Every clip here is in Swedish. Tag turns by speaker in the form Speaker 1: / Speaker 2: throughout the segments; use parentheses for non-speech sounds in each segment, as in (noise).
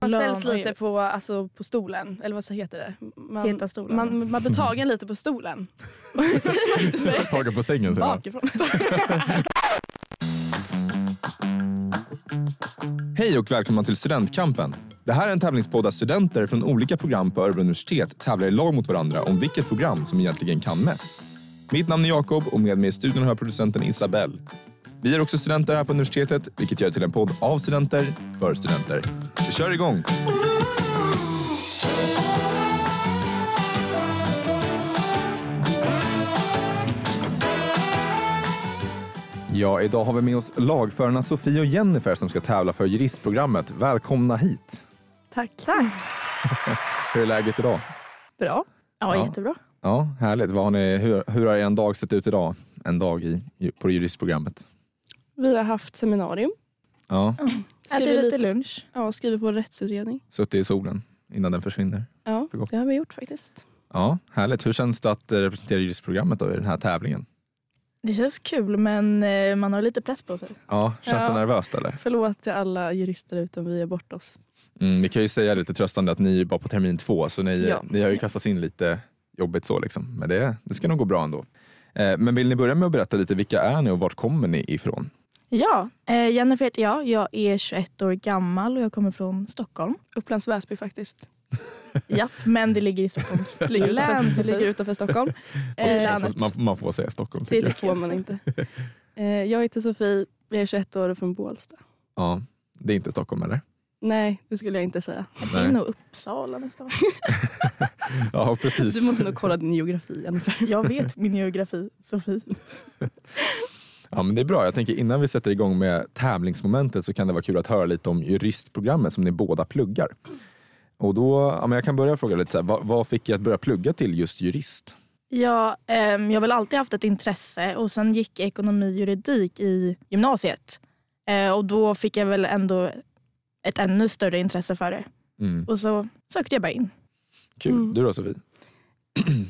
Speaker 1: Man ställs
Speaker 2: Lön, oj.
Speaker 1: lite på, alltså, på stolen. Eller vad så heter det? Man,
Speaker 2: Heta stolen.
Speaker 1: Man, man blir tagen lite på stolen. Säger man inte så?
Speaker 3: Tagen på sängen säger man.
Speaker 1: Bakifrån.
Speaker 3: Hej och välkomna till Studentkampen. Det här är en tävlingspodd där studenter från olika program på Örebro universitet tävlar i lag mot varandra om vilket program som egentligen kan mest. Mitt namn är Jakob och med mig i studion har jag producenten Isabelle. Vi är också studenter här på universitetet, vilket gör det till en podd av studenter, för studenter. Vi kör igång! Ja, idag har vi med oss lagförarna Sofie och Jennifer som ska tävla för juristprogrammet. Välkomna hit!
Speaker 2: Tack. Tack.
Speaker 3: Hur är läget idag?
Speaker 2: Bra. Ja,
Speaker 3: Ja.
Speaker 2: jättebra.
Speaker 3: Ja, härligt. Vad har ni, hur, hur har er dag sett ut idag? En dag i, på juristprogrammet.
Speaker 1: Vi har haft seminarium.
Speaker 3: Ja,
Speaker 1: Skriver
Speaker 2: Ätit lite
Speaker 1: lite-
Speaker 2: lunch.
Speaker 1: Ja, skriver på rättsutredning.
Speaker 3: suttit i solen innan den försvinner.
Speaker 1: Ja,
Speaker 3: För gott.
Speaker 1: det har vi gjort faktiskt.
Speaker 3: Ja, härligt. Hur känns det att eh, representera juristprogrammet då i den här tävlingen?
Speaker 2: Det känns kul men eh, man har lite press på sig.
Speaker 3: Ja, känns det
Speaker 1: Ja.
Speaker 3: nervöst eller?
Speaker 1: Förlåt till alla jurister utom vi är bort oss.
Speaker 3: Mm, vi kan ju säga lite tröstande att ni är bara på termin två så ni,
Speaker 1: Ja.
Speaker 3: ni har ju kastats in lite jobbigt så liksom. Men det, det ska nog gå bra ändå. Eh, Men vill ni börja med att berätta lite vilka är ni och vart kommer ni ifrån?
Speaker 2: Ja, eh, Jennifer heter jag. Jag är 21 år gammal och jag kommer från (laughs) Stockholm.
Speaker 1: Upplands Väsby faktiskt.
Speaker 2: Japp, men det (laughs) ligger i Stockholms
Speaker 1: Det ligger,
Speaker 2: län.
Speaker 1: utanför, ligger utanför Stockholm.
Speaker 2: I
Speaker 1: Eh,
Speaker 3: Man
Speaker 2: landet.
Speaker 3: får, man, får- man får säga Stockholm tycker
Speaker 1: det
Speaker 3: jag.
Speaker 1: får man inte. Eh, jag heter Sofie. Jag är 21 år och från Bålsta.
Speaker 3: Ja, det är inte Stockholm eller?
Speaker 1: Nej, det skulle jag inte säga.
Speaker 2: Det
Speaker 3: Nej.
Speaker 2: är nog Uppsala nästan.
Speaker 3: Ja, precis.
Speaker 1: Du måste nog kolla din geografi, Jennifer.
Speaker 2: Jag vet min geografi, Sofie.
Speaker 3: Ja, men det är bra. Jag tänker innan vi sätter igång med tävlingsmomentet så kan det vara kul att höra lite om juristprogrammet som ni båda pluggar. Och då, ja, men jag kan börja fråga lite så här, vad, vad fick er att börja plugga till just jurist?
Speaker 2: Ja, ehm, jag har väl alltid haft ett intresse och sen gick jag ekonomi och juridik i gymnasiet. Eh, och då fick jag väl ändå ett ännu större intresse för det.
Speaker 3: Mm,
Speaker 2: Och så sökte jag bara in.
Speaker 3: kul.
Speaker 1: Mm.
Speaker 3: Du då Sofie?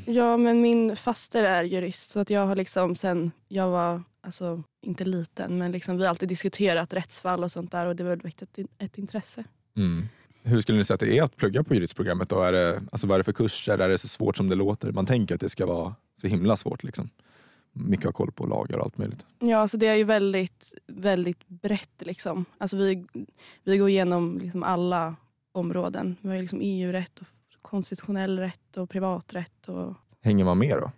Speaker 1: Ja, men min faster är jurist så att jag har liksom sen jag var, alltså inte liten, men liksom vi har alltid diskuterat rättsfall och sånt där och det har väckt ett, ett intresse.
Speaker 3: Mm. Hur skulle ni säga att det är att plugga på juristprogrammet? Då? Är det, alltså, vad är det för kurser? Är det så svårt som det låter? Man tänker att det ska vara så himla svårt. Liksom. Mycket har koll på lagar och allt möjligt.
Speaker 1: Ja, så det är ju väldigt, väldigt brett liksom. Alltså vi, vi går igenom liksom alla områden. Vi har ju liksom EU-rätt och konstitutionell rätt och privaträtt och
Speaker 3: Hänger man med då?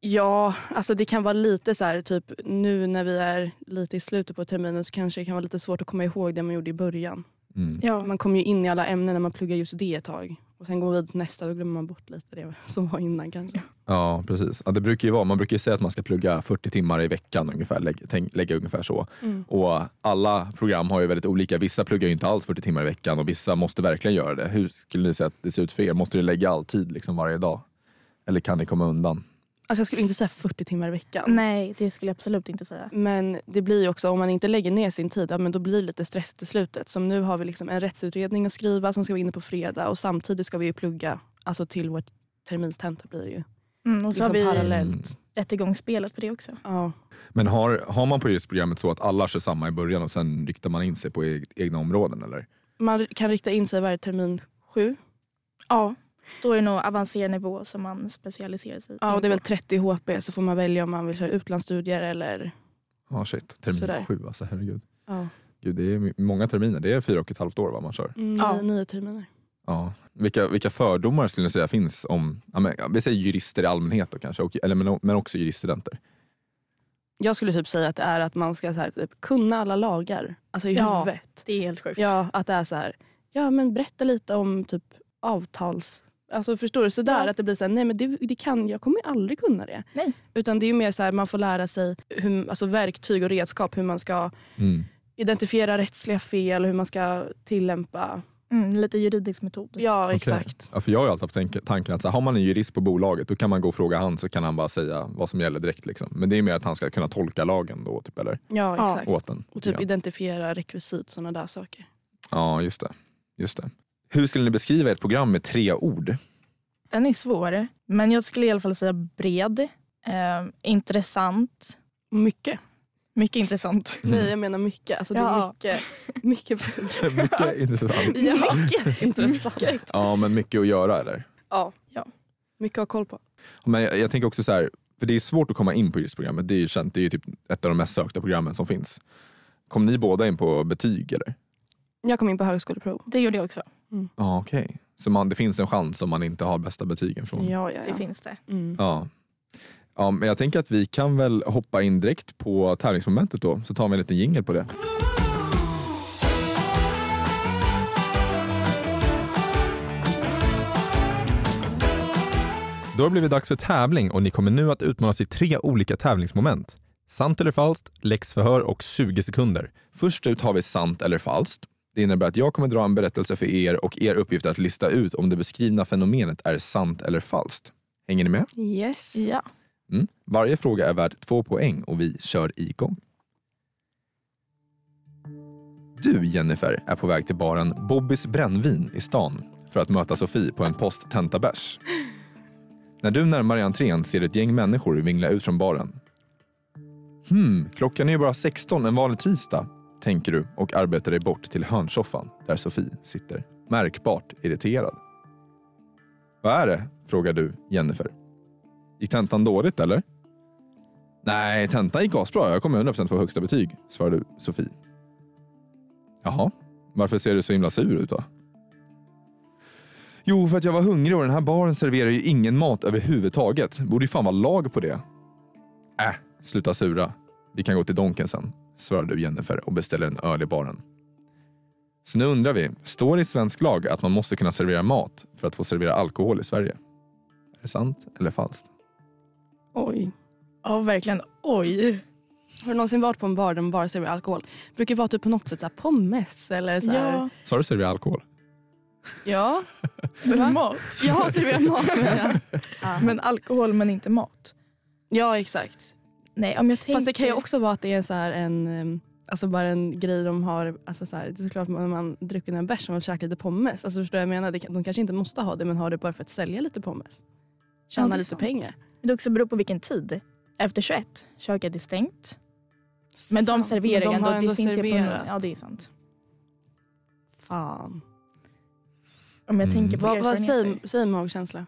Speaker 1: Ja, alltså det kan vara lite så här, typ nu när vi är lite i slutet på terminen så kanske det kan vara lite svårt att komma ihåg det man gjorde i början.
Speaker 3: Mm.
Speaker 2: Ja.
Speaker 1: Man kommer ju in i alla ämnen när man pluggar just det ett tag. Och sen går man vidare till nästa, då glömmer man bort lite det som var innan kanske.
Speaker 3: Ja, precis. Ja, det brukar ju vara, man brukar ju säga att man ska plugga 40 timmar i veckan ungefär. Lägg, tänk, lägga ungefär så.
Speaker 1: Mm.
Speaker 3: Och alla program har ju väldigt olika. Vissa pluggar ju inte alls 40 timmar i veckan och vissa måste verkligen göra det. Hur skulle ni säga att det ser ut för er? Måste ni lägga all tid liksom varje dag? Eller kan ni komma undan?
Speaker 1: Alltså jag skulle inte säga 40 timmar i veckan.
Speaker 2: Nej, det skulle jag absolut inte säga.
Speaker 1: Men det blir ju också, om man inte lägger ner sin tid, ja, men då blir det lite stress till slutet. Som nu har vi liksom en rättsutredning att skriva som ska vara inne på fredag och samtidigt ska vi ju plugga alltså till vår terminstenta blir det ju.
Speaker 2: Mm, och så
Speaker 1: Liksom
Speaker 2: har vi
Speaker 1: parallellt.
Speaker 2: rättegångsspelet på det också.
Speaker 1: Ja.
Speaker 3: Men har, har man på juristprogrammet så att alla kör samma i början och sen riktar man in sig på e- egna områden? Eller?
Speaker 1: Man kan rikta in sig varje termin sju.
Speaker 2: Ja, då är det nog avancerad nivå som man specialiserar sig
Speaker 1: Ja,
Speaker 2: in
Speaker 1: och det är väl
Speaker 2: på.
Speaker 1: 30 HP så får man välja om man vill köra utlandsstudier eller...
Speaker 3: Ja, shit. Termin
Speaker 1: Sådär.
Speaker 3: sju alltså, herregud.
Speaker 1: Ja.
Speaker 3: Gud, det är my- många terminer. Det är fyra och ett halvt år vad man kör.
Speaker 1: Mm,
Speaker 2: Ja.
Speaker 1: nio- Nio terminer.
Speaker 3: Ja. Vilka, vilka fördomar skulle ni säga finns om, ja, men, ja, vi säger jurister i allmänhet då kanske, och, eller, men, men också juriststudenter?
Speaker 1: Jag skulle typ säga att det är att man ska så här, typ, kunna alla lagar. Alltså i
Speaker 2: Ja.
Speaker 1: huvudet.
Speaker 2: Det är helt sjukt.
Speaker 1: Ja, att det är så här, ja men berätta lite om typ avtals... Alltså förstår du? Sådär
Speaker 2: Ja.
Speaker 1: att det blir så här, nej men det, det kan jag, kommer aldrig kunna det.
Speaker 2: Nej.
Speaker 1: Utan det är ju mer så här, man får lära sig hur, alltså verktyg och redskap, hur man ska
Speaker 3: Mm.
Speaker 1: identifiera rättsliga fel, hur man ska tillämpa.
Speaker 2: Mm, lite juridisk metod.
Speaker 1: Ja,
Speaker 3: Okej.
Speaker 1: exakt.
Speaker 3: Ja, för jag har ju alltid haft tanke- tanken att så här, har man en jurist på bolaget då kan man gå och fråga han så kan han bara säga vad som gäller direkt. Liksom. Men det är mer att han ska kunna tolka lagen då, typ, eller
Speaker 1: Ja,
Speaker 2: Ja.
Speaker 1: exakt.
Speaker 3: åt en.
Speaker 1: Och typ
Speaker 3: ja.
Speaker 1: identifiera rekvisit, sådana där saker.
Speaker 3: ja, just det. just det. Hur skulle ni beskriva ert program med tre
Speaker 1: (laughs)
Speaker 3: ord?
Speaker 2: Den är svår, men jag skulle i alla fall säga bred, eh, intressant.
Speaker 1: Mycket.
Speaker 2: Mycket intressant.
Speaker 3: Mm.
Speaker 1: Nej, jag menar mycket. Alltså, det är
Speaker 2: Ja.
Speaker 1: mycket,
Speaker 3: (laughs)
Speaker 1: mycket program.
Speaker 3: Mycket intressant.
Speaker 2: Mycket
Speaker 1: Intressant.
Speaker 2: Mycket.
Speaker 3: Ja, men mycket att göra eller?
Speaker 1: Ja.
Speaker 2: Ja.
Speaker 1: Mycket att ha koll på.
Speaker 3: Men jag, jag tänker också så här, för det är svårt att komma in på juristprogrammet. Det är ju känt, det är ju typ ett av de mest sökta programmen som finns. Kom ni båda in på betyg eller?
Speaker 1: Jag kom in på högskoleprov.
Speaker 2: Det gjorde jag också.
Speaker 3: Ja, okej. Så man, det finns en chans om man inte har bästa betygen från...
Speaker 1: Ja, ja,
Speaker 2: Det
Speaker 1: ja.
Speaker 2: finns det.
Speaker 1: Mm.
Speaker 3: Ja. ja, men jag tänker att vi kan väl hoppa in direkt på tävlingsmomentet då, så tar vi en liten jingel på det. Då har det blivit dags för tävling och ni kommer nu att utmanas i tre olika tävlingsmoment. Sant eller falskt, läxförhör och 20 sekunder. Först ut har vi sant eller falskt. Det innebär att jag kommer dra en berättelse för er och er uppgift är att lista ut om det beskrivna fenomenet är sant eller falskt. Hänger ni med?
Speaker 1: Yes.
Speaker 2: Ja.
Speaker 3: Mm. Varje fråga är värd två poäng och vi kör igång. Du, Jennifer, är på väg till baren Bobbys brännvin i stan för att möta Sofie på en post tentabärs. När du närmar dig entrén ser du ett gäng människor vingla ut från baren. Hmm, klockan är ju bara 16 en vanlig tisdag, tänker du och arbetar dig bort till hörnsoffan där Sofie sitter, märkbart irriterad. Vad är det? frågar du Jennifer. Gick tentan dåligt eller? Nej, tentan gick asbra. Jag kommer 100% få högsta betyg, svarar du Sofie. Jaha, varför ser du så himla sur ut då? Jo, för att jag var hungrig och den här baren serverar ju ingen mat överhuvudtaget. Borde ju fan vara lag på det. Äh, sluta sura. Vi kan gå till Donken sen, svarar du Jennifer och beställer en öl i baren. Så nu undrar vi, står det i svensk lag att man måste kunna servera mat för att få servera alkohol i Sverige? Är det sant eller falskt?
Speaker 1: Oj.
Speaker 2: Ja, verkligen. Oj.
Speaker 1: Har du någonsin varit på en bar där man bara serverar alkohol? brukar vara typ på något sätt så här pommes eller så här.
Speaker 2: Ja.
Speaker 3: Sa du servera alkohol?
Speaker 1: Ja. Va?
Speaker 2: Men mat.
Speaker 1: Jag har serverat mat med
Speaker 2: Men alkohol men inte mat.
Speaker 1: Ja, exakt.
Speaker 2: Nej, om jag tänker...
Speaker 1: Fast det kan ju också vara att det är så här en, em, alltså bara en grej de har. Alltså så här, det är såklart när man dricker en bärs som man käkar lite pommes. Alltså förstår du vad jag menar? Det kan- De kanske inte måste ha det men har det bara för att sälja lite pommes. Tjäna
Speaker 2: Ja, det är
Speaker 1: lite
Speaker 2: sant.
Speaker 1: pengar.
Speaker 2: Det också beror på vilken tid. Efter 21, köket är stängt. Men de
Speaker 1: Sant.
Speaker 2: serverar
Speaker 1: Men de
Speaker 2: ändå.
Speaker 1: har ändå
Speaker 2: det finns ju på
Speaker 1: serverat.
Speaker 2: Ja, det är sant.
Speaker 1: Fan.
Speaker 2: Om jag
Speaker 3: Mm.
Speaker 2: tänker på
Speaker 1: Vad, vad
Speaker 2: erfarenheter.
Speaker 1: säger, säger magkänsla?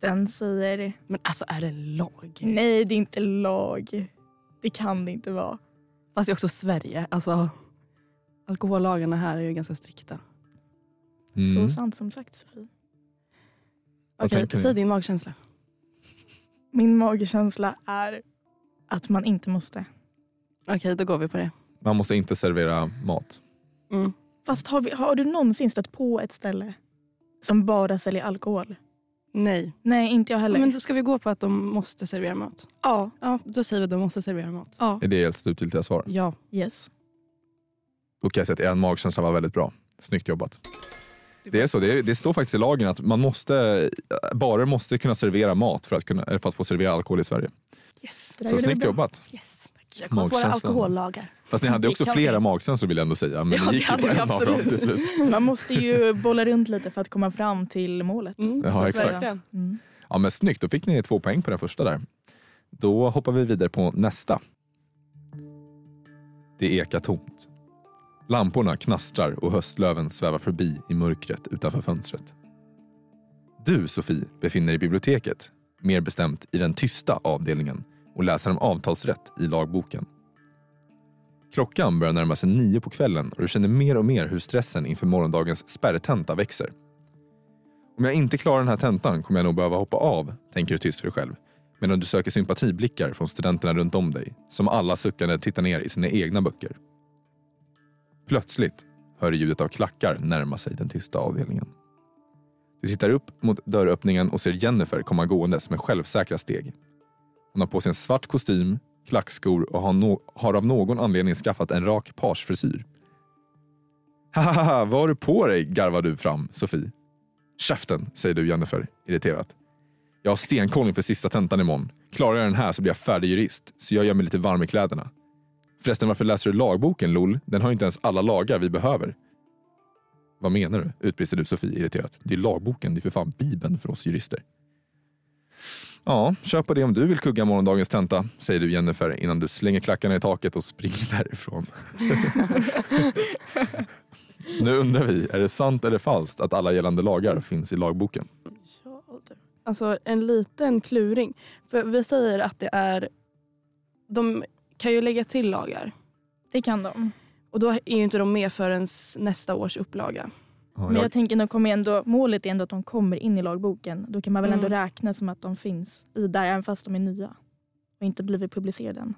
Speaker 2: Den säger...
Speaker 1: Men alltså är det lag?
Speaker 2: Nej, det är inte lag. Det kan det inte vara.
Speaker 1: Fast det är också Sverige. Alltså, alkohollagarna här är ju ganska strikta.
Speaker 3: Mm.
Speaker 2: Så sant som sagt, Sofie.
Speaker 3: Vad
Speaker 1: Okej,
Speaker 3: tänker ni?
Speaker 1: säg din magkänsla.
Speaker 2: Min magkänsla är att man inte måste.
Speaker 1: Okej, då går vi på det.
Speaker 3: Man måste inte servera mat.
Speaker 1: Mm.
Speaker 2: Fast har, vi, har du någonsin stött på ett ställe som bara säljer alkohol?
Speaker 1: Nej.
Speaker 2: Nej, inte jag heller.
Speaker 1: Men då ska vi gå på att de måste servera mat.
Speaker 2: Ja.
Speaker 1: Ja, då säger vi att de måste servera mat.
Speaker 2: Ja.
Speaker 3: Är det ert slutgiltiga svar?
Speaker 1: Ja.
Speaker 2: Yes.
Speaker 3: Då kan jag säga att er magkänsla var väldigt bra. Snyggt jobbat. Det är så, det, är, det står faktiskt i lagen att man måste, eh, barer måste kunna servera mat för att, kunna, eller för att få servera alkohol i Sverige.
Speaker 1: Yes.
Speaker 2: Det där
Speaker 3: Så
Speaker 2: gjorde vi
Speaker 3: snyggt
Speaker 2: bra.
Speaker 3: jobbat.
Speaker 1: Yes. Jag kommer på våra
Speaker 3: Magkänslan.
Speaker 1: alkohollagar.
Speaker 3: Fast ni hade
Speaker 2: Det
Speaker 3: också
Speaker 2: kan
Speaker 3: flera
Speaker 2: vi.
Speaker 3: magsensor vill jag ändå säga. Men
Speaker 1: Ja,
Speaker 3: ni
Speaker 1: det
Speaker 3: gick ju
Speaker 1: hade
Speaker 3: på
Speaker 1: vi
Speaker 3: en av dem
Speaker 1: absolut.
Speaker 3: till slut.
Speaker 2: Man måste ju bolla runt lite för att komma fram till målet.
Speaker 3: Ja,
Speaker 1: Så
Speaker 3: exakt.
Speaker 1: verkligen.
Speaker 2: Mm.
Speaker 3: Ja, men snyggt, då fick ni två poäng på den första där. Då hoppar vi vidare på nästa. Det ekar tomt. Lamporna knastrar och höstlöven svävar förbi i mörkret utanför fönstret. Du, Sofie, befinner dig i biblioteket, mer bestämt i den tysta avdelningen och läser om avtalsrätt i lagboken. Klockan börjar närma sig nio på kvällen och du känner mer och mer hur stressen inför morgondagens spärrtenta växer. Om jag inte klarar den här tentan kommer jag nog behöva hoppa av, tänker du tyst för dig själv. Medan du söker sympatiblickar från studenterna runt om dig, som alla suckande tittar ner i sina egna böcker. Plötsligt hör du ljudet av klackar närma sig den tysta avdelningen. Du tittar upp mot dörröppningen och ser Jennifer komma gåendes med självsäkra steg. Hon har på sig en svart kostym, klackskor och har, no- har av någon anledning skaffat en rak parsfrisyr. (laughs) Hahaha, vad har du på dig? garvar du fram, Sofie. Käften, säger du Jennifer, irriterat. Jag har stenkoll inför sista tentan imorgon. Klarar jag den här så blir jag färdig jurist, så jag gör mig lite varm i kläderna. Förresten, varför läser du lagboken, LOL? Den har ju inte ens alla lagar vi behöver. Vad menar du? utbrister du Sofie irriterat. Det är lagboken, det är för fan Bibeln för oss jurister. Ja, köp på det om du vill kugga morgondagens tenta, säger du Jennifer innan du slänger klackarna i taket och springer (laughs) därifrån. Så nu undrar vi, är det sant eller falskt att alla gällande lagar finns i lagboken?
Speaker 2: Ja, du.
Speaker 1: Alltså en liten kluring. För vi säger att det är... De kan ju lägga till lagar.
Speaker 2: Det kan de.
Speaker 1: Och då är ju inte de med förrän nästa års upplaga.
Speaker 3: Ja,
Speaker 2: Men jag
Speaker 3: jag,
Speaker 2: tänker nog kommer ändå, målet är ändå att de kommer in i lagboken. Då kan man väl ändå
Speaker 1: Mm.
Speaker 2: räkna som att de finns i där, även fast de är nya och inte blivit publicerade än.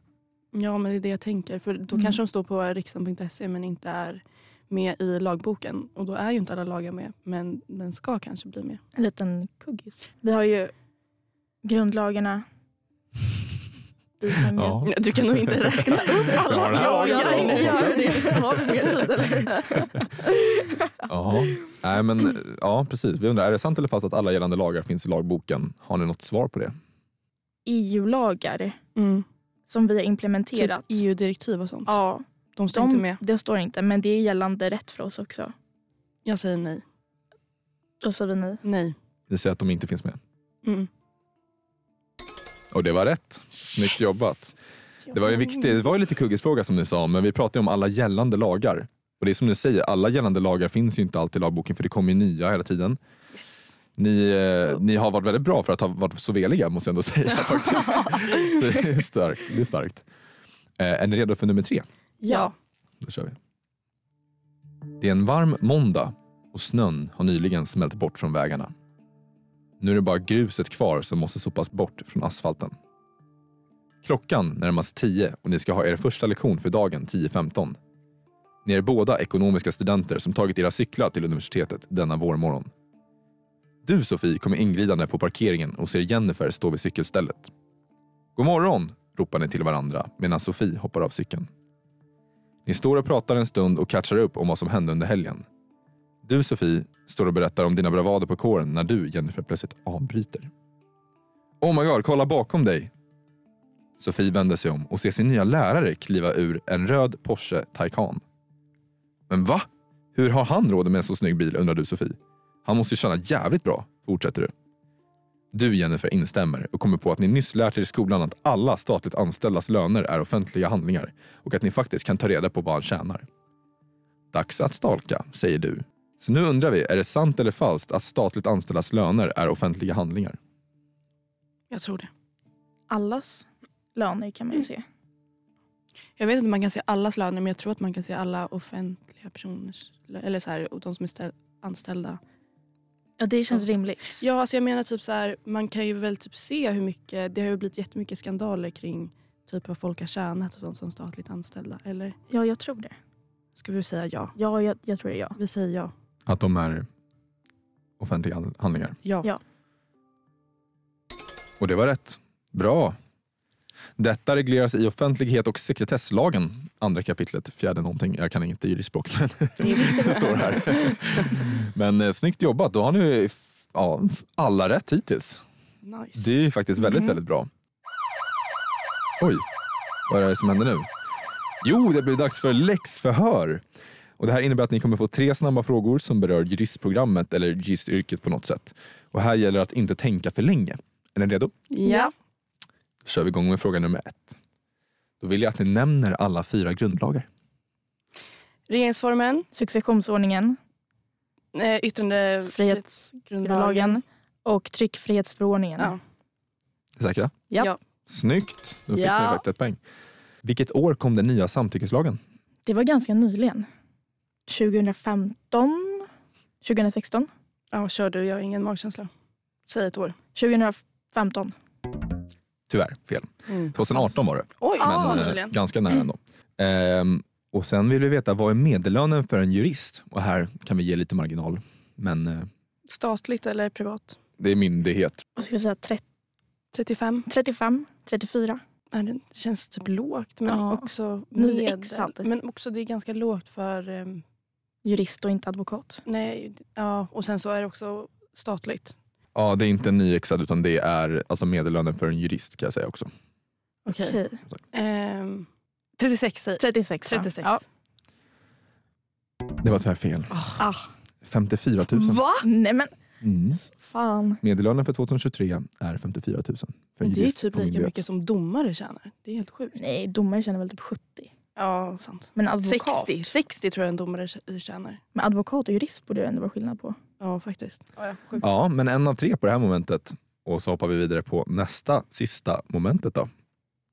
Speaker 1: Ja, men det är det jag tänker. För då
Speaker 2: Mm.
Speaker 1: kanske de står på riksdagen.se men inte är med i lagboken. Och då är ju inte alla lagar med, men den ska kanske bli med.
Speaker 2: En liten kuggis. Vi har ju grundlagarna.
Speaker 3: (laughs)
Speaker 2: Vi kan ju-
Speaker 3: Ja.
Speaker 1: Du kan nog inte räkna
Speaker 3: (laughs)
Speaker 1: upp
Speaker 3: Jag har
Speaker 1: alla
Speaker 3: den här
Speaker 1: lagar. Jag
Speaker 3: lagen.
Speaker 1: tänkte
Speaker 3: Ja,
Speaker 1: göra det. Har vi mer tid eller?
Speaker 3: ja. Nej, men, ja, precis. Vi undrar, är det sant eller falskt att alla gällande lagar finns i lagboken? Har ni något svar på det?
Speaker 2: EU-lagar
Speaker 1: Mm.
Speaker 2: E som vi har
Speaker 1: Typ
Speaker 2: implementerat.
Speaker 1: EU-direktiv och sånt.
Speaker 2: ja,
Speaker 1: De står inte
Speaker 2: de,
Speaker 1: med.
Speaker 2: det står inte, men det är gällande rätt för oss också.
Speaker 1: Jag säger nej.
Speaker 2: Då säger vi nej.
Speaker 1: Nej.
Speaker 3: Ni säger att de inte finns med.
Speaker 1: Mm.
Speaker 3: Och det var rätt. Snyggt jobbat. Det var ju viktigt.
Speaker 1: Mm.
Speaker 3: Det var ju lite kuggisfråga som ni sa, men vi pratade ju om alla gällande lagar. Och det är som ni säger, alla gällande lagar finns ju inte alltid i lagboken för det kommer ju nya hela tiden.
Speaker 1: Yes.
Speaker 3: Ni, eh, ni har varit väldigt bra för att ha varit så veliga måste jag ändå säga. (laughs) faktiskt. Så det, är starkt, det är starkt. Eh, är ni redo för nummer tre?
Speaker 1: Ja.
Speaker 3: Då kör vi. Det är en varm måndag och snön har nyligen smält bort från vägarna. Nu är det bara gruset kvar som måste sopas bort från asfalten. Klockan närmar sig 10 och ni ska ha er första lektion för dagen 10.15. Ni är båda ekonomiska studenter som tagit era cyklar till universitetet denna vårmorgon. Du, Sofie, kommer inglidande på parkeringen och ser Jennifer stå vid cykelstället. God morgon, ropar ni till varandra medan Sofie hoppar av cykeln. Ni står och pratar en stund och catchar upp om vad som hände under helgen. Du, Sofie, står och berättar om dina bravader på kåren när du, Jennifer, plötsligt avbryter. Oh my god, kolla bakom dig! Sofie vänder sig om och ser sin nya lärare kliva ur en röd Porsche Taycan. Men va? Hur har han råd med en så snygg bil, undrar du, Sofie. Han måste ju tjäna jävligt bra, fortsätter du. Du, Jennifer, instämmer och kommer på att ni nyss lärt er i skolan att alla statligt anställdas löner är offentliga handlingar och att ni faktiskt kan ta reda på vad han tjänar. Dags att stalka, säger du. Så nu undrar vi, är det sant eller falskt att statligt anställdas löner är offentliga handlingar?
Speaker 1: Jag tror det.
Speaker 2: Allas löner kan
Speaker 1: Mm.
Speaker 2: man ju se.
Speaker 1: Jag vet inte om man kan se allas löner men jag tror att man kan se alla offentliga personers lö- eller så här, och de som är stä- anställda.
Speaker 2: Ja, det känns rimligt.
Speaker 1: Ja, alltså jag menar typ så här, man kan ju väl typ se hur mycket, det har ju blivit jättemycket skandaler kring typ vad folk har tjänat och sånt som statligt anställda. Eller
Speaker 2: Ja, jag tror det.
Speaker 1: ska vi säga ja?
Speaker 2: Ja, jag, jag tror det. Ja.
Speaker 1: Vi säger ja.
Speaker 3: Att de är offentliga handlingar.
Speaker 1: Ja.
Speaker 2: Ja.
Speaker 3: Och det var rätt. Bra. Detta regleras i offentlighet och sekretesslagen, andra kapitlet, fjärde någonting. Jag kan inte juristspråk, men (laughs) det står här. Men eh, snyggt jobbat. Då har ni ja, alla rätt hittills.
Speaker 1: Nice.
Speaker 3: Det är ju faktiskt väldigt,
Speaker 2: Mhm.
Speaker 3: väldigt bra. Oj, vad är det som händer nu? Jo, det blir dags för läxförhör. Och det här innebär att ni kommer få tre snabba frågor som berör juristprogrammet eller juristyrket på något sätt. Och här gäller det att inte tänka för länge. Är ni redo?
Speaker 1: Ja.
Speaker 3: Då kör vi igång med fråga nummer ett. Då vill jag att ni nämner alla fyra grundlagar.
Speaker 1: Regeringsformen,
Speaker 2: Successionsordningen,
Speaker 1: eh, yttrande-
Speaker 2: frihetsgrundlagen och tryckfrihetsförordningen.
Speaker 1: Ja.
Speaker 3: Är ni Säkra?
Speaker 2: Ja.
Speaker 1: Ja.
Speaker 3: Snyggt! Då fick
Speaker 1: Ja.
Speaker 3: ni faktiskt ett poäng. Vilket år kom den nya samtyckeslagen?
Speaker 2: Det var ganska nyligen. 2015? 2016?
Speaker 1: Ja, kör du. Jag har ingen magkänsla. Säg ett år.
Speaker 2: 2015.
Speaker 3: Tyvärr, fel.
Speaker 2: Mm.
Speaker 3: 2018 var det.
Speaker 1: Oj,
Speaker 2: Ja,
Speaker 1: så
Speaker 3: Men eh,
Speaker 1: nyligen.
Speaker 3: ganska nära ändå. Ehm, och sen vill vi veta, vad är medellönen för en jurist? Och här kan vi ge lite marginal. Men eh,
Speaker 1: Statligt eller privat?
Speaker 3: det är myndighet.
Speaker 2: Vad ska jag säga? 30,
Speaker 1: 35?
Speaker 2: 35? 34?
Speaker 1: Nej, det känns typ lågt. Men
Speaker 2: Ja.
Speaker 1: också medel.
Speaker 2: Nyexad.
Speaker 1: Men också det är ganska lågt för... eh,
Speaker 2: Jurist och inte advokat.
Speaker 1: Nej, ja. Och sen så är det också statligt.
Speaker 3: Ja, det är inte nyexad utan det är alltså medellönen för en jurist kan jag säga också.
Speaker 1: Okej.
Speaker 2: Okej.
Speaker 1: Ehm, 36 säger
Speaker 2: 36. va?
Speaker 1: 36.
Speaker 2: Ja.
Speaker 3: Det var tyvärr fel.
Speaker 2: Ah.
Speaker 3: 54 000.
Speaker 2: Nej men
Speaker 3: Mm.
Speaker 2: Fan.
Speaker 3: Medellönen för 2023 är 54 000. För en
Speaker 1: Det är
Speaker 3: jurist
Speaker 1: typ
Speaker 3: på
Speaker 1: lika
Speaker 3: myndighet.
Speaker 1: mycket som domare tjänar. Det är helt sjukt.
Speaker 2: Nej, domare tjänar väl typ 70.
Speaker 1: Ja, sant.
Speaker 2: Men advokat,
Speaker 1: 60, 60 tror jag en domare tj- tjänar.
Speaker 2: Men advokat och jurist borde det ändå vara skillnad på.
Speaker 1: Ja, faktiskt. sjukt.
Speaker 3: Ja, men en av tre på det här momentet. Och så hoppar vi vidare på nästa, sista momentet då.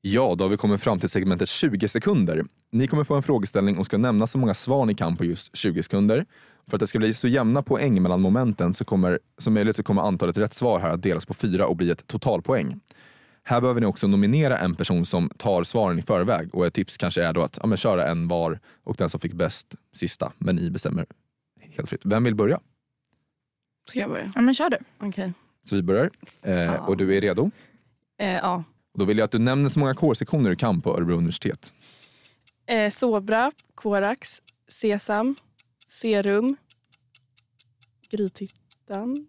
Speaker 3: Ja, då har vi kommit fram till segmentet 20 sekunder. Ni kommer få en frågeställning och ska nämna så många svar ni kan på just 20 sekunder. För att det ska bli så jämna poäng mellan momenten så kommer, som möjligt så kommer antalet rätt svar här att delas på fyra och bli ett totalpoäng. Här behöver ni också nominera en person som tar svaren i förväg och ett tips kanske är då att ja, men köra en var och den som fick bäst sista. Men ni bestämmer helt fritt. Vem vill börja?
Speaker 1: Ska jag börja?
Speaker 2: Ja, men kör du.
Speaker 1: Okej.
Speaker 3: Så vi börjar. Eh,
Speaker 1: Fan.
Speaker 3: och du är redo.
Speaker 1: Eh, ja.
Speaker 3: Och då vill jag att du nämner så många kårsektioner du kan på Örebro universitet.
Speaker 1: Eh, Sobra, Korax, Sesam, Serum, Grythyttan.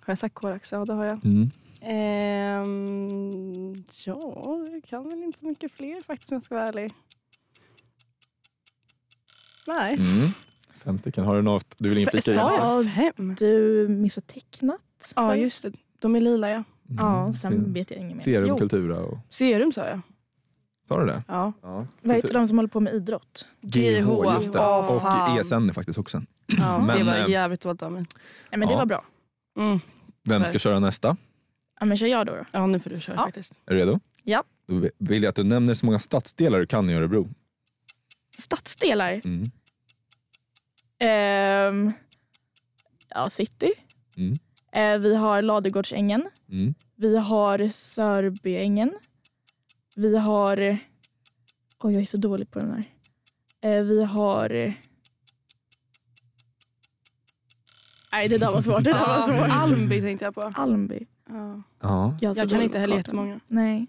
Speaker 1: Har jag sagt Korax? Ja, det har jag.
Speaker 3: Mm.
Speaker 1: Ehm, ja, jag kan väl inte så mycket fler faktiskt om jag ska vara ärlig. Nej.
Speaker 3: Mm. Fem stycken. Har du något du vill inflika? igen?
Speaker 1: Sa jag
Speaker 2: Ja.
Speaker 1: fem?
Speaker 2: Du missar tecknat.
Speaker 1: Ja, just det. De är lila, ja.
Speaker 3: Mm.
Speaker 2: Ja, sen vet jag inget mer.
Speaker 3: Serum,
Speaker 2: Jo,
Speaker 3: Kultura och...
Speaker 1: Serum sa jag.
Speaker 3: Sa du det?
Speaker 1: Ja.
Speaker 3: Ja.
Speaker 2: vad heter de som håller på med idrott?
Speaker 1: GH,
Speaker 3: just det.
Speaker 1: ja,
Speaker 3: och
Speaker 1: fan.
Speaker 3: ESN är faktiskt också en.
Speaker 1: ja det
Speaker 3: Men, eh,
Speaker 1: var jävligt dåligt av mig.
Speaker 2: Nej, men
Speaker 3: Ja.
Speaker 2: det var bra.
Speaker 1: Mm.
Speaker 3: Vem
Speaker 1: Tyvärr.
Speaker 3: ska köra nästa?
Speaker 2: Ja, men kör jag då. då.
Speaker 1: Ja, nu får du köra
Speaker 2: Ja.
Speaker 1: faktiskt.
Speaker 3: Är du redo?
Speaker 2: Ja.
Speaker 3: Då vill jag att du nämner så många stadsdelar du kan i Örebro.
Speaker 2: Stadsdelar.
Speaker 3: Mm.
Speaker 2: Ehm, ja, city.
Speaker 3: Mm.
Speaker 2: Eh, vi har Ladugårdsängen.
Speaker 3: Mm.
Speaker 2: Vi har Sörbyängen. Vi har... Oj, jag är så dålig på den här. Eh, vi har... Nej, det där var svårt. Det där var
Speaker 1: Ja,
Speaker 2: svårt. Alltså,
Speaker 1: Almby tänkte jag på.
Speaker 2: Almby.
Speaker 1: Ja.
Speaker 3: Ja.
Speaker 2: Jag, är så
Speaker 1: Jag kan
Speaker 2: dålig
Speaker 1: inte
Speaker 2: på
Speaker 1: heller
Speaker 2: kartan.
Speaker 1: jättemånga.
Speaker 2: Nej.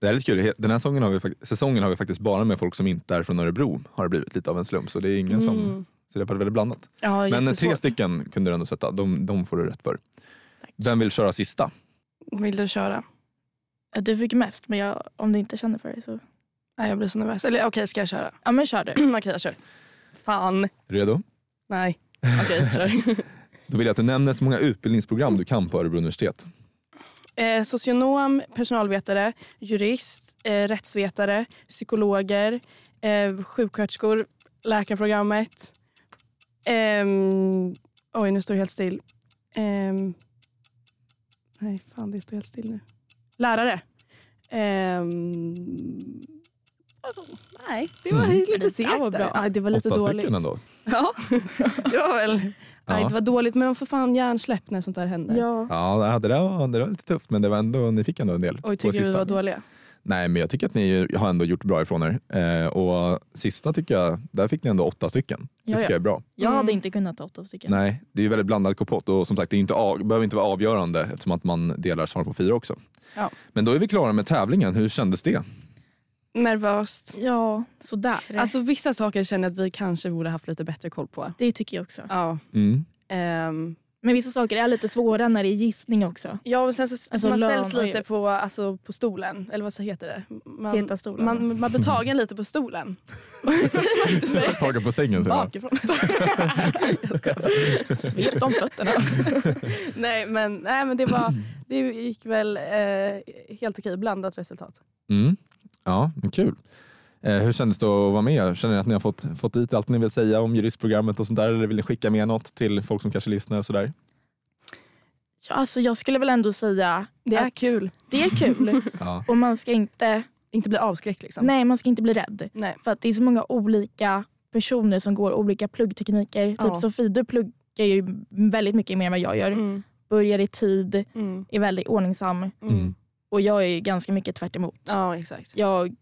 Speaker 3: Det här är lite kul. Den här säsongen har, vi, fakt- säsongen har vi faktiskt bara med folk som inte är från Örebro. Har det blivit lite av en slump. Så det är ingen som...
Speaker 1: Mm.
Speaker 3: Så det har varit väldigt blandat.
Speaker 1: Ja,
Speaker 3: Men eh, tre
Speaker 1: jättesvårt.
Speaker 3: stycken kunde du ändå sätta. De, de får du rätt för.
Speaker 2: Tack.
Speaker 3: Vem vill köra sista?
Speaker 1: Vill du köra?
Speaker 2: Eh, Du fick mest, men jag, om du inte känner för det så...
Speaker 1: Nej, jag blir så nervös. Eller okej, ska jag köra? (clears throat)
Speaker 2: Ja, men kör du.
Speaker 1: okej, jag kör. Fan.
Speaker 3: Redo?
Speaker 1: Nej. Okej, kör.
Speaker 3: Då vill jag att du nämner så många utbildningsprogram du kan på Örebro universitet.
Speaker 1: Eh, socionom, personalvetare, jurist, eh, rättsvetare, psykologer, eh, sjuksköterskor, läkarprogrammet. Ehm, oj, nu står det helt still. Ehm, nej, fan det står helt still nu. Lärare. Ehm, alltså, nej, det var
Speaker 3: Mm.
Speaker 1: lite
Speaker 2: Det där var
Speaker 1: segt. där.
Speaker 2: bra.
Speaker 1: Ja, det var lite
Speaker 3: Åtta
Speaker 1: dåligt.
Speaker 3: stycken ändå.
Speaker 1: Ja, det var väl. Nej,
Speaker 3: Ja.
Speaker 1: det var dåligt, men man får fan hjärnsläpp när sånt där händer.
Speaker 2: Ja.
Speaker 3: Ja, det där, var, det där var lite tufft men det var ändå, ni fick ändå en del. på
Speaker 1: Oj, tycker du vi
Speaker 3: sista.
Speaker 1: var dåliga?
Speaker 3: Nej men jag tycker att ni har ändå gjort bra ifrån er. Eh, och sista tycker jag, där fick ni ändå åtta stycken. Det
Speaker 2: Ja,
Speaker 3: tycker
Speaker 2: ja.
Speaker 3: jag är bra.
Speaker 2: Jag hade
Speaker 1: Mm.
Speaker 2: inte kunnat ta åtta stycken.
Speaker 3: Nej, det är ju väldigt blandad kompott och som sagt det är inte, av- behöver inte vara avgörande eftersom att man delar svar på fyra också.
Speaker 1: Ja.
Speaker 3: Men då är vi klara med tävlingen, hur kändes det?
Speaker 1: Nervöst.
Speaker 2: Ja, sådär. Alltså,
Speaker 1: Alltså vissa saker känner jag att vi kanske borde haft lite bättre koll på.
Speaker 2: det tycker jag också.
Speaker 1: Ja.
Speaker 3: Mm.
Speaker 1: ehm,
Speaker 2: Men vissa saker är lite svåra när det är gissning också.
Speaker 1: ja och sen så så
Speaker 2: Alltså,
Speaker 1: man
Speaker 2: lön
Speaker 1: ställs
Speaker 2: har ju-
Speaker 1: lite på, alltså, på stolen. Eller vad så heter det? Man,
Speaker 2: Heta stolen.
Speaker 1: man, man blir tagen lite på
Speaker 2: (laughs)
Speaker 1: stolen. Säger
Speaker 3: (laughs)
Speaker 1: man inte så?
Speaker 3: Tagen på sängen sen.
Speaker 1: Bakifrån. (laughs) jag skojar.
Speaker 2: Svep om (laughs) fötterna.
Speaker 1: nej, men, nej men det var, det gick väl eh, helt okej. Blandat resultat.
Speaker 3: Mm. Ja, men kul. Eh, hur kändes det att vara med? Känner ni att ni har fått, fått dit allt ni vill säga om juristprogrammet och sånt där? Eller vill ni skicka med något till folk som kanske lyssnar? Och sådär?
Speaker 2: Ja, alltså, jag skulle väl ändå säga
Speaker 1: Det är
Speaker 2: Att-
Speaker 1: kul.
Speaker 2: det är
Speaker 1: (laughs)
Speaker 2: kul.
Speaker 3: Ja.
Speaker 2: och man ska inte,
Speaker 1: Inte bli avskräckt liksom.
Speaker 2: nej, man ska inte bli rädd.
Speaker 1: Nej.
Speaker 2: För att det är så många olika personer som går olika pluggtekniker.
Speaker 1: Ja.
Speaker 2: Typ Sofie, du pluggar ju väldigt mycket mer än vad jag gör.
Speaker 1: Mm,
Speaker 2: Börjar i tid,
Speaker 1: mm,
Speaker 2: är väldigt ordningsam
Speaker 1: mm.
Speaker 2: och jag är ju ganska mycket tvärt emot.
Speaker 1: Ja exakt.
Speaker 2: Jag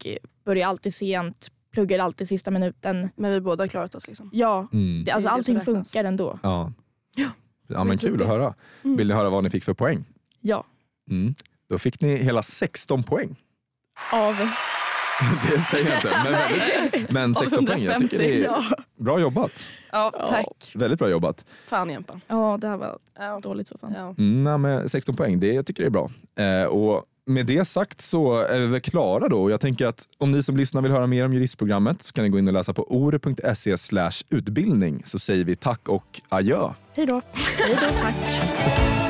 Speaker 2: börjar alltid sent, pluggar alltid sista minuten.
Speaker 1: Men vi båda har klarat oss liksom.
Speaker 2: Ja,
Speaker 3: Mm.
Speaker 2: det,
Speaker 1: Det
Speaker 2: alltså,
Speaker 1: är det som
Speaker 2: allting
Speaker 1: räknas.
Speaker 2: funkar ändå.
Speaker 3: Ja. ja, men
Speaker 1: det är
Speaker 3: kul
Speaker 1: det.
Speaker 3: att höra.
Speaker 1: Mm.
Speaker 3: Vill ni höra vad ni fick för poäng?
Speaker 2: Ja,
Speaker 3: Mm. Då fick ni hela 16 poäng. (laughs)
Speaker 2: av...
Speaker 3: Det säger jag inte, men, väldigt, men 16 poäng. Jag tycker det är
Speaker 2: Ja,
Speaker 3: bra jobbat.
Speaker 1: (laughs) Ja,
Speaker 2: Ja.
Speaker 1: tack.
Speaker 3: Väldigt bra jobbat.
Speaker 1: Fan Jempa.
Speaker 2: ja det här var
Speaker 1: Ja.
Speaker 2: dåligt så fan.
Speaker 1: Ja.
Speaker 3: Mm, nej, men 16 poäng, det jag tycker jag är bra. Eh, och Med det sagt så är vi väl klara då. Jag tänker att om ni som lyssnar vill höra mer om juristprogrammet så kan ni gå in och läsa på ore.se utbildning så säger vi tack och adjö.
Speaker 1: Hej då.
Speaker 2: Hej då, (laughs) tack.